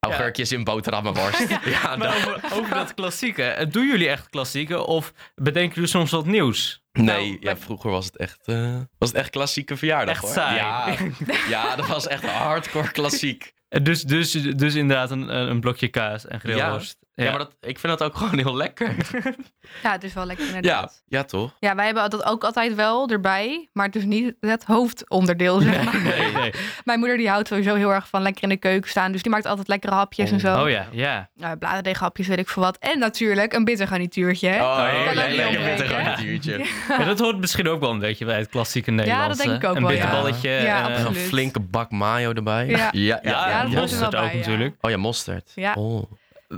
Speaker 1: Augurkjes in boterhammenworst. ja,
Speaker 2: Maar
Speaker 1: dat-
Speaker 2: over, over dat klassieke. eh, Doen jullie echt klassieke of bedenken jullie soms wat nieuws?
Speaker 1: Nee,
Speaker 3: Nou,
Speaker 1: ja, vroeger was het echt, eh, was het echt klassieke verjaardag
Speaker 2: Echt
Speaker 1: hoor.
Speaker 2: saai.
Speaker 1: Ja, ja, dat was echt hardcore klassiek.
Speaker 2: Eh, Dus, dus, dus inderdaad een, een een blokje kaas en grillworst.
Speaker 1: Ja, maar dat, ik vind dat ook gewoon heel lekker.
Speaker 3: Ja, het is wel lekker
Speaker 1: ja,
Speaker 3: inderdaad. Ja.
Speaker 1: ja, toch?
Speaker 3: wij hebben dat ook altijd wel erbij, maar het is niet het hoofdonderdeel, zeg maar.
Speaker 2: Nee, nee.
Speaker 3: Mijn moeder die houdt sowieso heel erg van lekker in de keuken staan, dus die maakt altijd lekkere hapjes en zo.
Speaker 2: Oh ja, ja.
Speaker 3: Nou, bladerdeeghapjes, weet ik veel wat. En natuurlijk een bittergarnituurtje. hè?
Speaker 1: Oh,
Speaker 2: heerlijk.
Speaker 1: lekker, lekker
Speaker 2: Lekker,
Speaker 1: met een
Speaker 3: ja.
Speaker 1: garnituurtje.
Speaker 2: Ja, Dat hoort misschien ook wel een beetje bij het klassieke Nederlandse.
Speaker 3: denk ik ook
Speaker 2: een
Speaker 3: wel, ja.
Speaker 2: bitterballetje.
Speaker 3: Ja,
Speaker 2: eh,
Speaker 1: En een
Speaker 3: absoluut.
Speaker 1: flinke bak mayo erbij.
Speaker 3: Ja.
Speaker 1: ja, ja.
Speaker 2: ja,
Speaker 3: Ja, dat hoort er
Speaker 2: mosterd
Speaker 3: wel bij,
Speaker 2: ook
Speaker 3: ja.
Speaker 2: natuurlijk.
Speaker 1: Oh ja, mosterd.
Speaker 3: Ja.
Speaker 1: Oh.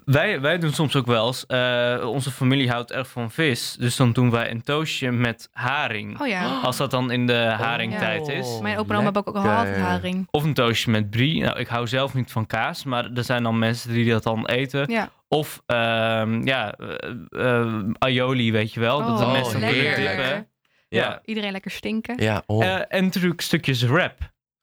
Speaker 2: Wij, wij doen soms ook wel eens. eh, onze familie houdt erg van vis. Dus dan doen wij een toastje met haring.
Speaker 3: Oh ja. Oh,
Speaker 2: Als dat dan in de haringtijd
Speaker 1: Ja.
Speaker 2: is.
Speaker 3: Mijn opa en oma hebben ook
Speaker 1: Lekker.
Speaker 3: altijd haring.
Speaker 2: Of een toastje met brie. Nou, ik hou zelf niet van kaas, maar er zijn dan mensen die dat dan eten.
Speaker 1: Oh,
Speaker 3: Ja.
Speaker 2: Of ehm, ja, eh, eh, aioli, weet je wel. dat
Speaker 1: Oh,
Speaker 2: er mensen
Speaker 1: lekker.
Speaker 2: kunnen dippen. Ja.
Speaker 1: Ja.
Speaker 3: Iedereen lekker stinken.
Speaker 1: Ja, oh.
Speaker 2: Eh, en natuurlijk stukjes wrap.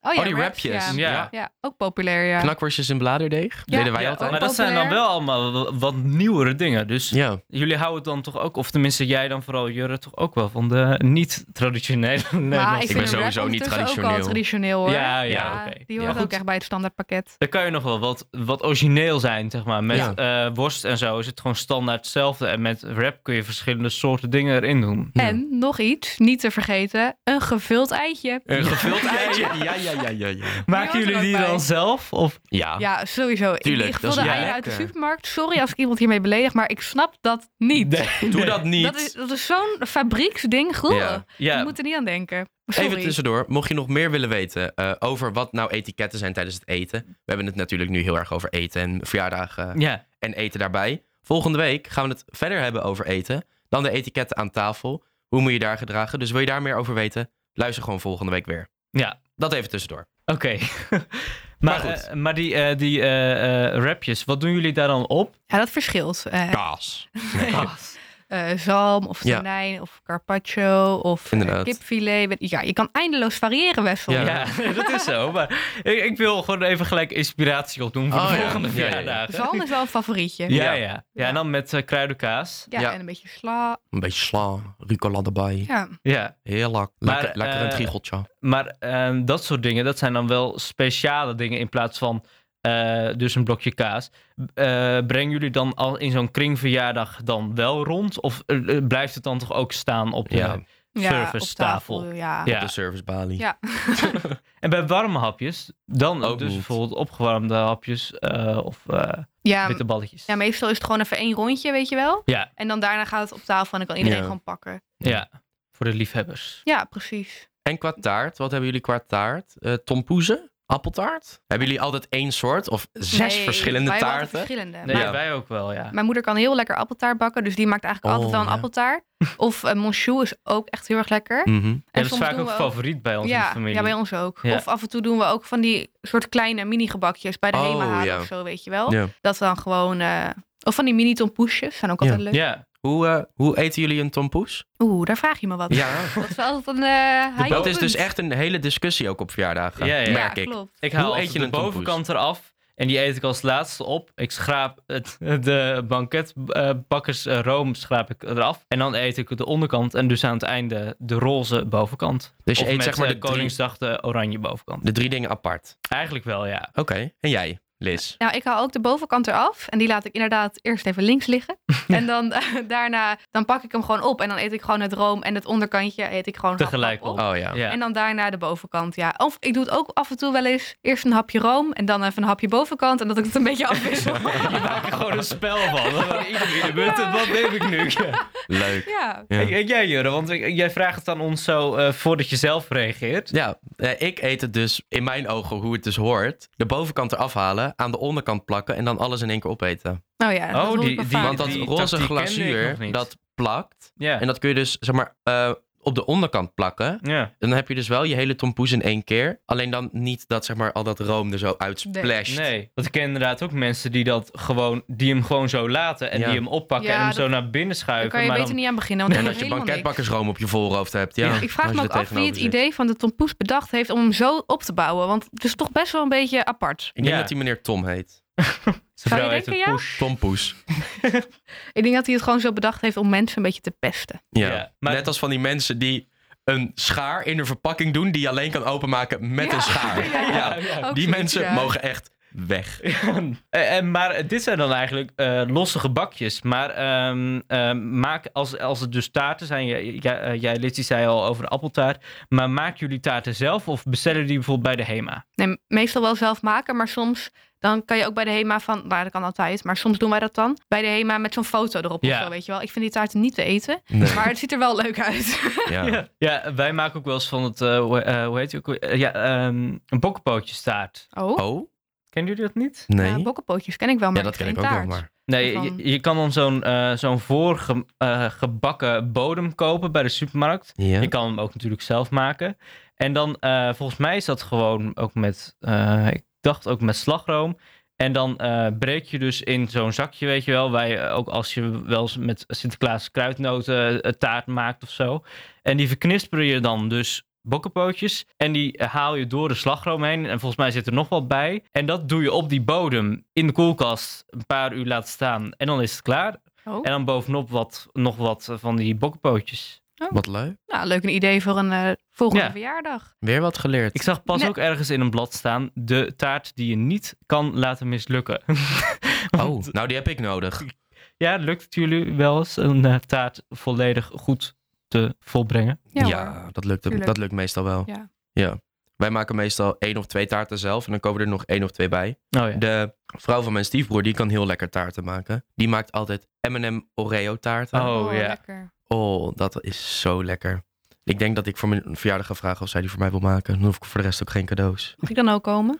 Speaker 1: Oh, die
Speaker 3: wraps,
Speaker 1: wrapjes.
Speaker 3: Ja.
Speaker 2: Ja.
Speaker 3: Ja, ook populair, ja.
Speaker 1: Knakworstjes in bladerdeeg.
Speaker 3: Ja. oh,
Speaker 1: Deden wij
Speaker 2: Ja,
Speaker 1: altijd.
Speaker 2: maar dat zijn dan
Speaker 3: Populair.
Speaker 2: wel allemaal wa- wat nieuwere dingen. Dus
Speaker 1: Ja.
Speaker 2: jullie houden het dan toch ook, of tenminste jij dan vooral, Jurre, toch ook wel van de niet-traditionele
Speaker 3: maar
Speaker 2: Nederlandse.
Speaker 3: ik
Speaker 1: ik
Speaker 3: vind
Speaker 1: ben
Speaker 3: een wrap
Speaker 1: sowieso niet
Speaker 3: ondertussen ook
Speaker 1: traditioneel.
Speaker 3: al traditioneel, hoor.
Speaker 2: Ja, ja, oké.
Speaker 3: Die
Speaker 2: Ja,
Speaker 3: hoort ook
Speaker 2: goed.
Speaker 3: echt bij het standaardpakket.
Speaker 2: Er kan je nog wel wat, wat origineel zijn, zeg maar. Met
Speaker 1: Ja.
Speaker 2: eh, worst en zo is het gewoon standaard hetzelfde. En met wrap kun je verschillende soorten dingen erin doen.
Speaker 1: Ja.
Speaker 3: En nog iets, niet te vergeten, een gevuld eitje.
Speaker 2: Een gevuld eitje.
Speaker 1: Ja, ja, ja, ja, ja.
Speaker 2: Maken
Speaker 3: Die hoort er
Speaker 2: jullie die
Speaker 3: ook bij.
Speaker 2: dan zelf? Of...
Speaker 1: Ja.
Speaker 3: Ja, sowieso.
Speaker 1: Tuurlijk,
Speaker 3: ik
Speaker 1: dat is
Speaker 3: gevulde eieren
Speaker 1: lekker.
Speaker 3: uit de supermarkt. Sorry als ik iemand hiermee beledig, maar ik snap dat niet.
Speaker 2: Nee.
Speaker 1: Doe dat niet.
Speaker 3: Dat is, dat is zo'n fabrieksding. Groen.
Speaker 1: Ja.
Speaker 3: Je
Speaker 2: Ja,
Speaker 3: moet er niet aan denken. Sorry.
Speaker 1: Even tussendoor, mocht je nog meer willen weten eh, over wat nou etiketten zijn tijdens het eten. We hebben het natuurlijk nu heel erg over eten en verjaardagen
Speaker 2: ja.
Speaker 1: en eten daarbij. Volgende week gaan we het verder hebben over eten. Dan de etiketten aan tafel. Hoe moet je daar gedragen? Dus wil je daar meer over weten? Luister gewoon volgende week weer.
Speaker 2: Ja.
Speaker 1: Dat even tussendoor.
Speaker 2: oké. maar,
Speaker 1: Maar goed.
Speaker 2: eh, maar die, eh, die eh, eh, rapjes, wat doen jullie daar dan op?
Speaker 3: Ja, dat verschilt. Eh,
Speaker 1: Kaas.
Speaker 3: eh, zalm of
Speaker 1: Ja.
Speaker 3: tonijn of carpaccio of eh,
Speaker 1: Inderdaad.
Speaker 3: kipfilet. Ja, je kan eindeloos variëren, Wessel.
Speaker 1: Ja.
Speaker 2: Ja, dat is zo. Maar ik, ik wil gewoon even gelijk inspiratie opdoen voor
Speaker 1: Oh,
Speaker 2: de
Speaker 1: ja.
Speaker 2: volgende
Speaker 1: Ja, ja, ja.
Speaker 2: verjaardag.
Speaker 3: Zalm is wel een favorietje.
Speaker 2: Ja,
Speaker 1: Ja.
Speaker 2: ja. Ja, en dan met eh, kruidenkaas.
Speaker 3: Ja,
Speaker 1: Ja.
Speaker 3: en een beetje sla.
Speaker 1: Een beetje sla, rucola erbij.
Speaker 3: Ja.
Speaker 2: Ja,
Speaker 1: Heel lak.
Speaker 2: Maar,
Speaker 1: Lekker, lekker een
Speaker 2: eh,
Speaker 1: triegeltje.
Speaker 2: maar ehm, dat soort dingen, dat zijn dan wel speciale dingen in plaats van eh, dus een blokje kaas. Eh, brengen jullie dan al in zo'n kringverjaardag dan wel rond? Of eh, eh, blijft het dan toch ook staan op de...
Speaker 1: Ja.
Speaker 3: ja,
Speaker 2: Service
Speaker 3: op tafel.
Speaker 2: tafel.
Speaker 3: Ja.
Speaker 2: Ja.
Speaker 1: Op de servicebalie.
Speaker 3: Ja.
Speaker 2: En bij warme hapjes, dan
Speaker 1: Ook
Speaker 2: dus
Speaker 1: niet.
Speaker 2: bijvoorbeeld opgewarmde hapjes eh, of eh
Speaker 3: Ja,
Speaker 2: witte balletjes.
Speaker 3: ja, meestal is het gewoon even één rondje, weet je wel.
Speaker 2: Ja.
Speaker 3: En dan daarna gaat het op tafel en dan kan iedereen
Speaker 1: Ja.
Speaker 3: gewoon pakken.
Speaker 2: Ja, voor de liefhebbers.
Speaker 3: Ja, precies.
Speaker 1: En qua taart, wat hebben jullie qua taart? Eh tompoezen? Appeltaart? Hebben jullie altijd één soort of zes
Speaker 3: Nee,
Speaker 1: verschillende
Speaker 3: wij hebben altijd
Speaker 1: taarten?
Speaker 3: verschillende.
Speaker 2: Nee,
Speaker 3: Maar
Speaker 1: Ja.
Speaker 2: wij ook wel, ja.
Speaker 3: Mijn moeder kan heel lekker appeltaart bakken, dus die maakt eigenlijk
Speaker 1: Oh,
Speaker 3: altijd wel een
Speaker 1: ja.
Speaker 3: appeltaart. Of eh monsieur is ook echt heel erg lekker.
Speaker 1: Mhm.
Speaker 2: En dat
Speaker 3: soms
Speaker 2: is vaak
Speaker 3: doen
Speaker 2: ook
Speaker 3: we
Speaker 2: favoriet bij ons in de
Speaker 3: ja,
Speaker 2: familie.
Speaker 3: ja, bij ons ook.
Speaker 2: Ja.
Speaker 3: Of af en toe doen we ook van die soort kleine mini-gebakjes bij de
Speaker 1: Oh,
Speaker 3: Hema halen
Speaker 1: ja.
Speaker 3: of zo, weet je wel.
Speaker 1: Ja.
Speaker 3: Dat we dan gewoon... eh, of van die mini-tompoesjes, zijn ook
Speaker 1: Ja.
Speaker 3: altijd leuk.
Speaker 2: Ja,
Speaker 1: Hoe, eh, hoe eten jullie een tompoes?
Speaker 3: Oeh, daar vraag je me wat.
Speaker 1: Ja.
Speaker 3: Dat is altijd een eh high
Speaker 1: Dat is
Speaker 3: punt.
Speaker 1: dus echt een hele discussie ook op verjaardagen,
Speaker 2: Ja, ja.
Speaker 1: merk
Speaker 3: ja,
Speaker 1: ik.
Speaker 3: Klopt.
Speaker 2: ik haal
Speaker 1: Hoe eet
Speaker 2: altijd
Speaker 1: je
Speaker 2: de
Speaker 1: een tompoes?
Speaker 2: bovenkant eraf en die eet ik als laatste op. Ik schraap het, de eh, banketbakkersroom schraap ik eraf. En dan eet ik de onderkant en dus aan het einde de roze bovenkant.
Speaker 1: Dus je
Speaker 2: Of
Speaker 1: eet
Speaker 2: met,
Speaker 1: zeg maar
Speaker 2: eh,
Speaker 1: de drie,
Speaker 2: Koningsdag de oranje bovenkant.
Speaker 1: de drie dingen apart.
Speaker 2: Eigenlijk wel, ja.
Speaker 1: Oké, en jij, Liz?
Speaker 3: Nou, ik haal ook de bovenkant eraf. En die laat ik inderdaad eerst even links liggen. En dan eh, daarna, dan pak ik hem gewoon op. En dan eet ik gewoon het room en het onderkantje eet ik gewoon hap,
Speaker 2: Tegelijk
Speaker 3: hap op.
Speaker 2: op.
Speaker 1: Oh ja.
Speaker 2: Ja.
Speaker 3: En dan daarna de bovenkant, ja. Of ik doe het ook af en toe wel eens. Eerst een hapje room en dan even een hapje bovenkant. En dat ik het een beetje afwissel.
Speaker 2: Je maakt er gewoon een spel van. Gewoon Iedere ieder minuut, wat neem ik nu? Ja.
Speaker 1: Leuk.
Speaker 3: ja.
Speaker 1: Ja.
Speaker 2: En- en jij, Jurre, want ik- jij vraagt het aan ons zo eh, voordat je zelf reageert.
Speaker 1: Ja, eh, ik eet het dus in mijn ogen hoe het dus hoort. De bovenkant eraf halen, aan de onderkant plakken en dan alles in één keer opeten.
Speaker 3: Nou ja, dat
Speaker 2: Oh,
Speaker 3: hoor ik
Speaker 2: die-
Speaker 3: wel
Speaker 2: die-
Speaker 3: vaak.
Speaker 1: Want dat
Speaker 2: die
Speaker 1: roze
Speaker 2: tactiek kende ik nog
Speaker 1: glazuur,
Speaker 2: niet.
Speaker 1: dat plakt.
Speaker 2: Ja.
Speaker 1: En dat kun je dus, zeg maar, eh, op de onderkant plakken.
Speaker 2: ja.
Speaker 1: Dan heb je dus wel je hele tompoes in één keer. Alleen dan niet dat, zeg maar, al dat room er zo uitsplasht.
Speaker 2: Nee, want ik ken inderdaad ook mensen die, dat gewoon, die hem gewoon zo laten en
Speaker 1: Ja.
Speaker 2: die hem oppakken
Speaker 3: Ja,
Speaker 2: en hem
Speaker 3: dat-
Speaker 2: zo naar binnen
Speaker 3: Daar
Speaker 2: schuiven.
Speaker 3: kan je
Speaker 2: maar
Speaker 3: beter
Speaker 2: dan-
Speaker 3: niet aan beginnen, want
Speaker 1: En
Speaker 3: dat
Speaker 1: dat
Speaker 3: is
Speaker 1: je
Speaker 3: helemaal niks.
Speaker 1: banketbakkersroom op je voorhoofd hebt. Ja,
Speaker 2: Ja,
Speaker 3: Ik vraag
Speaker 1: als
Speaker 3: me
Speaker 1: je
Speaker 3: ook
Speaker 1: er
Speaker 3: af wie het
Speaker 1: tegenover zit.
Speaker 3: idee van de tompoes bedacht heeft om hem zo op te bouwen. Want het is toch best wel een beetje apart.
Speaker 1: Ik denk
Speaker 2: Ja.
Speaker 1: dat die meneer Tom heet.
Speaker 2: Zijn
Speaker 3: Zou je
Speaker 2: vrouw heet
Speaker 3: denken,
Speaker 2: een
Speaker 3: ja?
Speaker 2: poes.
Speaker 1: Tompoes.
Speaker 3: Ik denk dat hij het gewoon zo bedacht heeft om mensen een beetje te pesten.
Speaker 1: Ja.
Speaker 2: Ja, maar-
Speaker 1: Net als van die mensen die een schaar in een verpakking doen die je alleen kan openmaken met
Speaker 3: Ja.
Speaker 1: een schaar.
Speaker 3: Ja, ja.
Speaker 1: Ja.
Speaker 3: Ook
Speaker 1: Die
Speaker 3: zoiets,
Speaker 1: mensen
Speaker 3: ja.
Speaker 1: mogen echt weg.
Speaker 2: Eh, eh, maar eh, dit zijn dan eigenlijk eh, losse gebakjes. Maar ehm, ehm, maak, als, als het dus taarten zijn, jij, jij, eh, jij Liz, die zei al over de appeltaart. Maar maak jullie taarten zelf of bestellen die bijvoorbeeld bij de HEMA?
Speaker 3: Nee, meestal wel zelf maken, maar soms dan kan je ook bij de HEMA van, nou dat kan altijd, maar soms doen wij dat dan. Bij de HEMA met zo'n foto erop
Speaker 2: Ja.
Speaker 3: of zo, weet je wel. Ik vind die taarten niet te eten,
Speaker 1: Nee.
Speaker 3: maar het ziet er wel leuk uit.
Speaker 1: Ja.
Speaker 2: Ja. ja, wij maken ook wel eens van het, eh, hoe, eh, hoe heet die ook? weer? Eh, ja, ehm, een bokkenpootjestaart.
Speaker 3: Oh,
Speaker 1: Oh?
Speaker 2: Kennen jullie dat niet?
Speaker 1: Nee?
Speaker 3: ja, bokkenpootjes ken ik wel, maar
Speaker 1: ja, dat ken
Speaker 3: geen
Speaker 1: ik ook wel,
Speaker 3: taart.
Speaker 1: maar...
Speaker 2: Nee,
Speaker 3: Van-
Speaker 2: je, je kan dan zo'n eh, zo'n voorgebakken bodem kopen bij de supermarkt.
Speaker 1: Ja.
Speaker 2: Je kan hem ook natuurlijk zelf maken. En dan, eh, volgens mij is dat gewoon ook met, eh, ik dacht ook met slagroom. En dan eh, breek je dus in zo'n zakje, weet je wel. Wij, eh, ook als je wel eens met Sinterklaas kruidnoten eh, taart maakt of zo. En die verknisper je dan dus bokkenpootjes. En die eh, haal je door de slagroom heen. En volgens mij zit er nog wat bij. En dat doe je op die bodem in de koelkast een paar uur laten staan. En dan is het klaar.
Speaker 3: Oh.
Speaker 2: En dan bovenop wat, nog wat van die bokkenpootjes.
Speaker 1: Wat leuk.
Speaker 3: Nou, leuk een idee voor een eh, volgende
Speaker 2: Ja.
Speaker 3: verjaardag.
Speaker 1: Weer wat geleerd.
Speaker 2: Ik zag pas
Speaker 3: Nee.
Speaker 2: ook ergens in een blad staan: de taart die je niet kan laten mislukken.
Speaker 1: Oh, nou die heb ik nodig.
Speaker 2: Ja, lukt het jullie wel eens een eh, taart volledig goed te volbrengen?
Speaker 3: Ja,
Speaker 1: Ja,
Speaker 3: hoor.
Speaker 1: dat, lukt,
Speaker 3: Tuurlijk.
Speaker 1: dat lukt meestal wel.
Speaker 3: Ja.
Speaker 1: ja. Wij maken meestal één of twee taarten zelf en dan komen er nog één of twee bij.
Speaker 2: Oh ja.
Speaker 1: De vrouw van mijn stiefbroer, die kan heel lekker taarten maken. Die maakt altijd M&M Oreo taarten.
Speaker 2: Oh, ja.
Speaker 3: lekker.
Speaker 1: Oh, dat is zo lekker. Ik denk dat ik voor mijn verjaardag ga vragen of zij die voor mij wil maken. Dan hoef ik voor de rest ook geen cadeaus.
Speaker 3: Mag ik dan ook komen?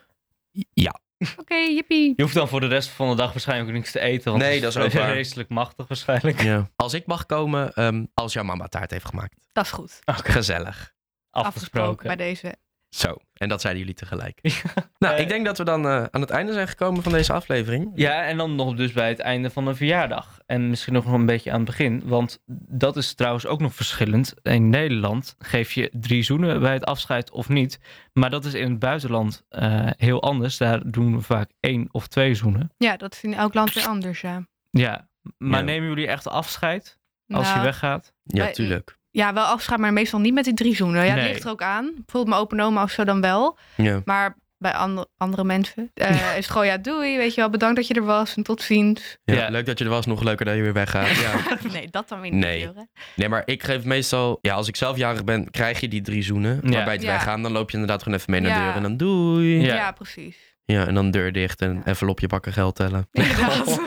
Speaker 1: Ja.
Speaker 3: Oké, jippie.
Speaker 2: Je hoeft dan voor de rest van de dag waarschijnlijk ook niks te eten. Want
Speaker 1: Nee,
Speaker 2: het
Speaker 1: dat is ook waar.
Speaker 2: vreselijk machtig waarschijnlijk.
Speaker 1: ja. Als ik mag komen, ehm, als jouw mama taart heeft gemaakt.
Speaker 3: Dat is goed.
Speaker 1: Gezellig.
Speaker 2: Afgesproken.
Speaker 3: bij deze.
Speaker 1: Zo. En dat zeiden jullie tegelijk. Nou, ik denk dat we dan eh, aan het einde zijn gekomen van deze aflevering.
Speaker 2: Ja, en dan nog dus bij het einde van een verjaardag. En misschien nog een beetje aan het begin. Want dat is trouwens ook nog verschillend. In Nederland geef je drie zoenen bij het afscheid of niet. Maar dat is in het buitenland eh, heel anders. Daar doen we vaak één of twee zoenen.
Speaker 3: Ja, dat is in elk land weer anders, ja.
Speaker 2: Ja, maar
Speaker 1: Ja.
Speaker 2: nemen jullie echt afscheid als
Speaker 3: Nou,
Speaker 2: je weggaat?
Speaker 1: Ja,
Speaker 3: Wij-
Speaker 1: tuurlijk.
Speaker 3: Ja, wel afscheid, maar meestal niet met die drie zoenen. Ja,
Speaker 2: Nee.
Speaker 3: het ligt er ook aan. Bijvoorbeeld mijn open oma of zo dan wel.
Speaker 1: Ja.
Speaker 3: Maar bij andere, andere mensen eh, is het gewoon ja, doei, weet je wel, bedankt dat je er was en tot ziens.
Speaker 1: Ja,
Speaker 2: Ja.
Speaker 1: Leuk dat je er was. Nog leuker dat je weer weggaat. Ja.
Speaker 3: Nee, dat dan weer
Speaker 1: niet, Nee. Jure. Nee, maar ik geef meestal... Ja, als ik zelf jarig ben, krijg je die drie zoenen.
Speaker 2: Ja.
Speaker 1: Maar bij het
Speaker 3: Ja.
Speaker 1: weggaan, dan loop je inderdaad gewoon even mee naar de
Speaker 3: Ja.
Speaker 1: deur. En dan doei.
Speaker 3: Ja.
Speaker 2: Ja.
Speaker 3: precies.
Speaker 1: Ja, en dan deur dicht en envelopje pakken geld tellen.
Speaker 3: Inderdaad.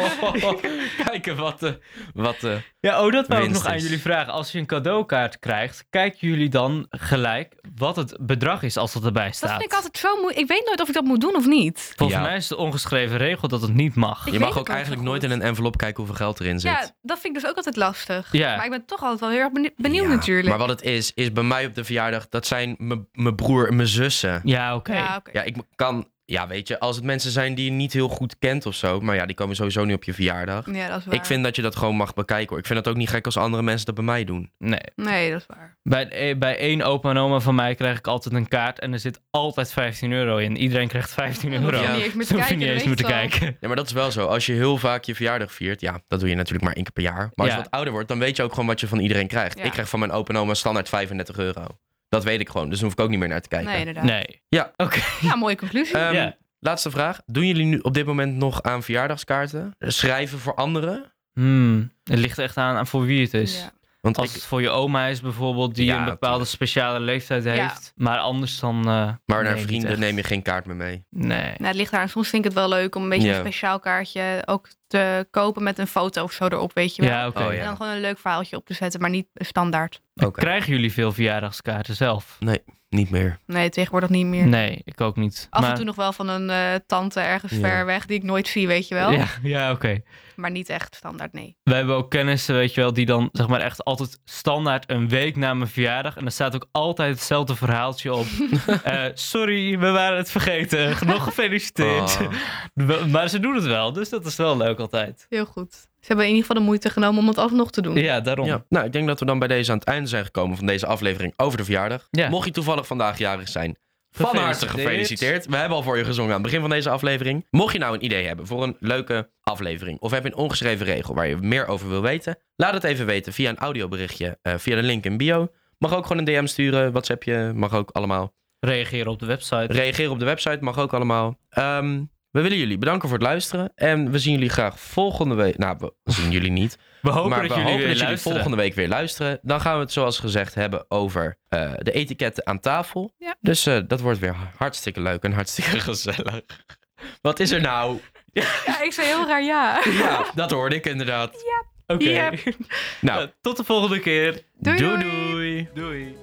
Speaker 1: Kijken wat de... Wat eh, de...
Speaker 2: Ja, oh, dat wou ik
Speaker 1: Winst
Speaker 2: nog aan
Speaker 1: is.
Speaker 2: jullie vragen. Als je een cadeaukaart krijgt, kijken jullie dan gelijk wat het bedrag is als dat erbij
Speaker 3: Dat
Speaker 2: staat?
Speaker 3: vind ik altijd zo moeilijk. Ik weet nooit of ik dat moet doen of niet.
Speaker 2: Volgens
Speaker 1: Ja.
Speaker 2: mij is de ongeschreven regel dat het niet mag.
Speaker 3: Ik
Speaker 1: Je
Speaker 3: weet
Speaker 1: mag
Speaker 3: het
Speaker 1: ook
Speaker 3: nooit
Speaker 1: eigenlijk
Speaker 3: zo
Speaker 1: nooit in
Speaker 3: goed.
Speaker 1: een envelop kijken hoeveel geld erin zit.
Speaker 3: Ja, dat vind ik dus ook altijd lastig.
Speaker 2: Ja.
Speaker 3: Maar ik ben toch altijd wel heel erg benieu- benieuwd
Speaker 1: Ja,
Speaker 3: natuurlijk.
Speaker 1: Maar wat het is, is bij mij op de verjaardag, dat zijn mijn- mijn broer en mijn zussen.
Speaker 2: Ja, oké.
Speaker 3: Ja, oké.
Speaker 1: Ja, ik m- kan... Ja, weet je, als het mensen zijn die je niet heel goed kent of zo, maar ja, die komen sowieso niet op je verjaardag.
Speaker 3: Ja, dat is waar.
Speaker 1: Ik vind dat je dat gewoon mag bekijken hoor. Ik vind het ook niet gek als andere mensen dat bij mij doen.
Speaker 2: Nee.
Speaker 3: Nee, dat is waar.
Speaker 2: Bij, eh, bij één opa en oma van mij krijg ik altijd een kaart en er zit altijd 15 euro in. Iedereen krijgt 15
Speaker 3: Dan hoef
Speaker 2: euro.
Speaker 3: je
Speaker 1: Ja.
Speaker 3: niet eens meer te
Speaker 2: Zo hoef je
Speaker 3: kijken.
Speaker 2: niet
Speaker 3: dan
Speaker 2: eens
Speaker 3: weet
Speaker 2: meer te
Speaker 3: je het al.
Speaker 2: kijken.
Speaker 1: Ja, maar dat is wel zo. Als je heel vaak je verjaardag viert, ja, dat doe je natuurlijk maar één keer per jaar. Maar als
Speaker 2: Ja.
Speaker 1: je wat ouder wordt, dan weet je ook gewoon wat je van iedereen krijgt.
Speaker 3: Ja.
Speaker 1: Ik krijg van mijn opa en oma standaard 35 euro. Dat weet ik gewoon, dus dan hoef ik ook niet meer naar te kijken.
Speaker 3: Nee, inderdaad.
Speaker 2: Nee.
Speaker 1: Ja.
Speaker 2: Oké.
Speaker 3: Ja, mooie conclusie.
Speaker 1: Ehm,
Speaker 2: Ja.
Speaker 1: Laatste vraag. Doen jullie nu op dit moment nog aan verjaardagskaarten?
Speaker 2: Eh,
Speaker 1: Schrijven voor anderen?
Speaker 2: Hmm, Het ligt echt aan, aan voor wie het is.
Speaker 1: dus-
Speaker 3: Ja.
Speaker 1: Want
Speaker 2: Als
Speaker 1: ik,
Speaker 2: het voor je oma is bijvoorbeeld, die
Speaker 1: Ja,
Speaker 2: een bepaalde
Speaker 1: tuurlijk.
Speaker 2: speciale leeftijd
Speaker 3: Ja.
Speaker 2: heeft. Maar anders dan... eh,
Speaker 1: maar naar
Speaker 2: nee, niet
Speaker 1: vrienden
Speaker 2: echt.
Speaker 1: neem je geen kaart meer mee.
Speaker 2: Nee.
Speaker 3: Nou, het ligt eraan. Soms vind ik het wel leuk om een beetje
Speaker 1: Ja.
Speaker 3: een speciaal kaartje ook te kopen met een foto of zo erop, weet je wel.
Speaker 2: Ja, oké.
Speaker 1: Oh, ja.
Speaker 3: En dan gewoon een leuk verhaaltje op te zetten, maar niet standaard.
Speaker 1: Oké,
Speaker 2: Krijgen jullie veel verjaardagskaarten zelf?
Speaker 1: niet meer.
Speaker 3: Nee, tegenwoordig niet meer.
Speaker 2: Nee, ik ook niet.
Speaker 3: Af
Speaker 2: maar...
Speaker 3: en toe nog wel van een eh, tante ergens
Speaker 1: Ja.
Speaker 3: ver weg die ik nooit zie, weet je wel.
Speaker 2: Ja, ja oké.
Speaker 3: Maar niet echt standaard, nee.
Speaker 2: We hebben ook kennissen, weet je wel, die dan zeg maar echt altijd standaard een week na mijn verjaardag. En er staat ook altijd hetzelfde verhaaltje op. Eh, sorry, we waren het vergeten. Nog gefeliciteerd.
Speaker 1: Oh.
Speaker 2: We- Maar ze doen het wel, dus dat is wel leuk altijd.
Speaker 3: Heel goed. Ze hebben in ieder geval de moeite genomen om het alsnog te doen.
Speaker 2: Ja, daarom.
Speaker 1: Ja. Nou, ik denk dat we dan bij deze aan het einde zijn gekomen van deze aflevering over de verjaardag.
Speaker 2: Ja.
Speaker 1: Mocht je toevallig vandaag jarig zijn, van harte gefeliciteerd. We hebben al voor je gezongen aan het begin van deze aflevering. Mocht je nou een idee hebben voor een leuke aflevering of heb je een ongeschreven regel waar je meer over wil weten, laat het even weten via een audioberichtje, eh, via de link in bio. Mag ook gewoon een DM sturen, WhatsAppje, mag ook allemaal.
Speaker 2: Reageer op de website.
Speaker 1: Reageer op de website, mag ook allemaal. Ehm, we willen jullie bedanken voor het luisteren en we zien jullie graag volgende week. Nou, we zien jullie niet
Speaker 2: we hopen
Speaker 1: maar
Speaker 2: dat
Speaker 1: we
Speaker 2: jullie weer
Speaker 1: hopen dat jullie
Speaker 2: luisteren.
Speaker 1: volgende week weer luisteren. Dan gaan we het zoals gezegd hebben over eh, de etiketten aan tafel.
Speaker 3: Ja.
Speaker 1: Dus eh, dat wordt weer hartstikke leuk en hartstikke gezellig. Wat is er nou?
Speaker 3: Ja, ik zei heel raar ja.
Speaker 1: Ja, dat hoorde ik inderdaad.
Speaker 2: Oké.
Speaker 3: Ja.
Speaker 1: Nou,
Speaker 2: Eh, tot de volgende keer.
Speaker 3: Doei,
Speaker 1: doei.
Speaker 3: doei.
Speaker 1: doei.
Speaker 2: Doei.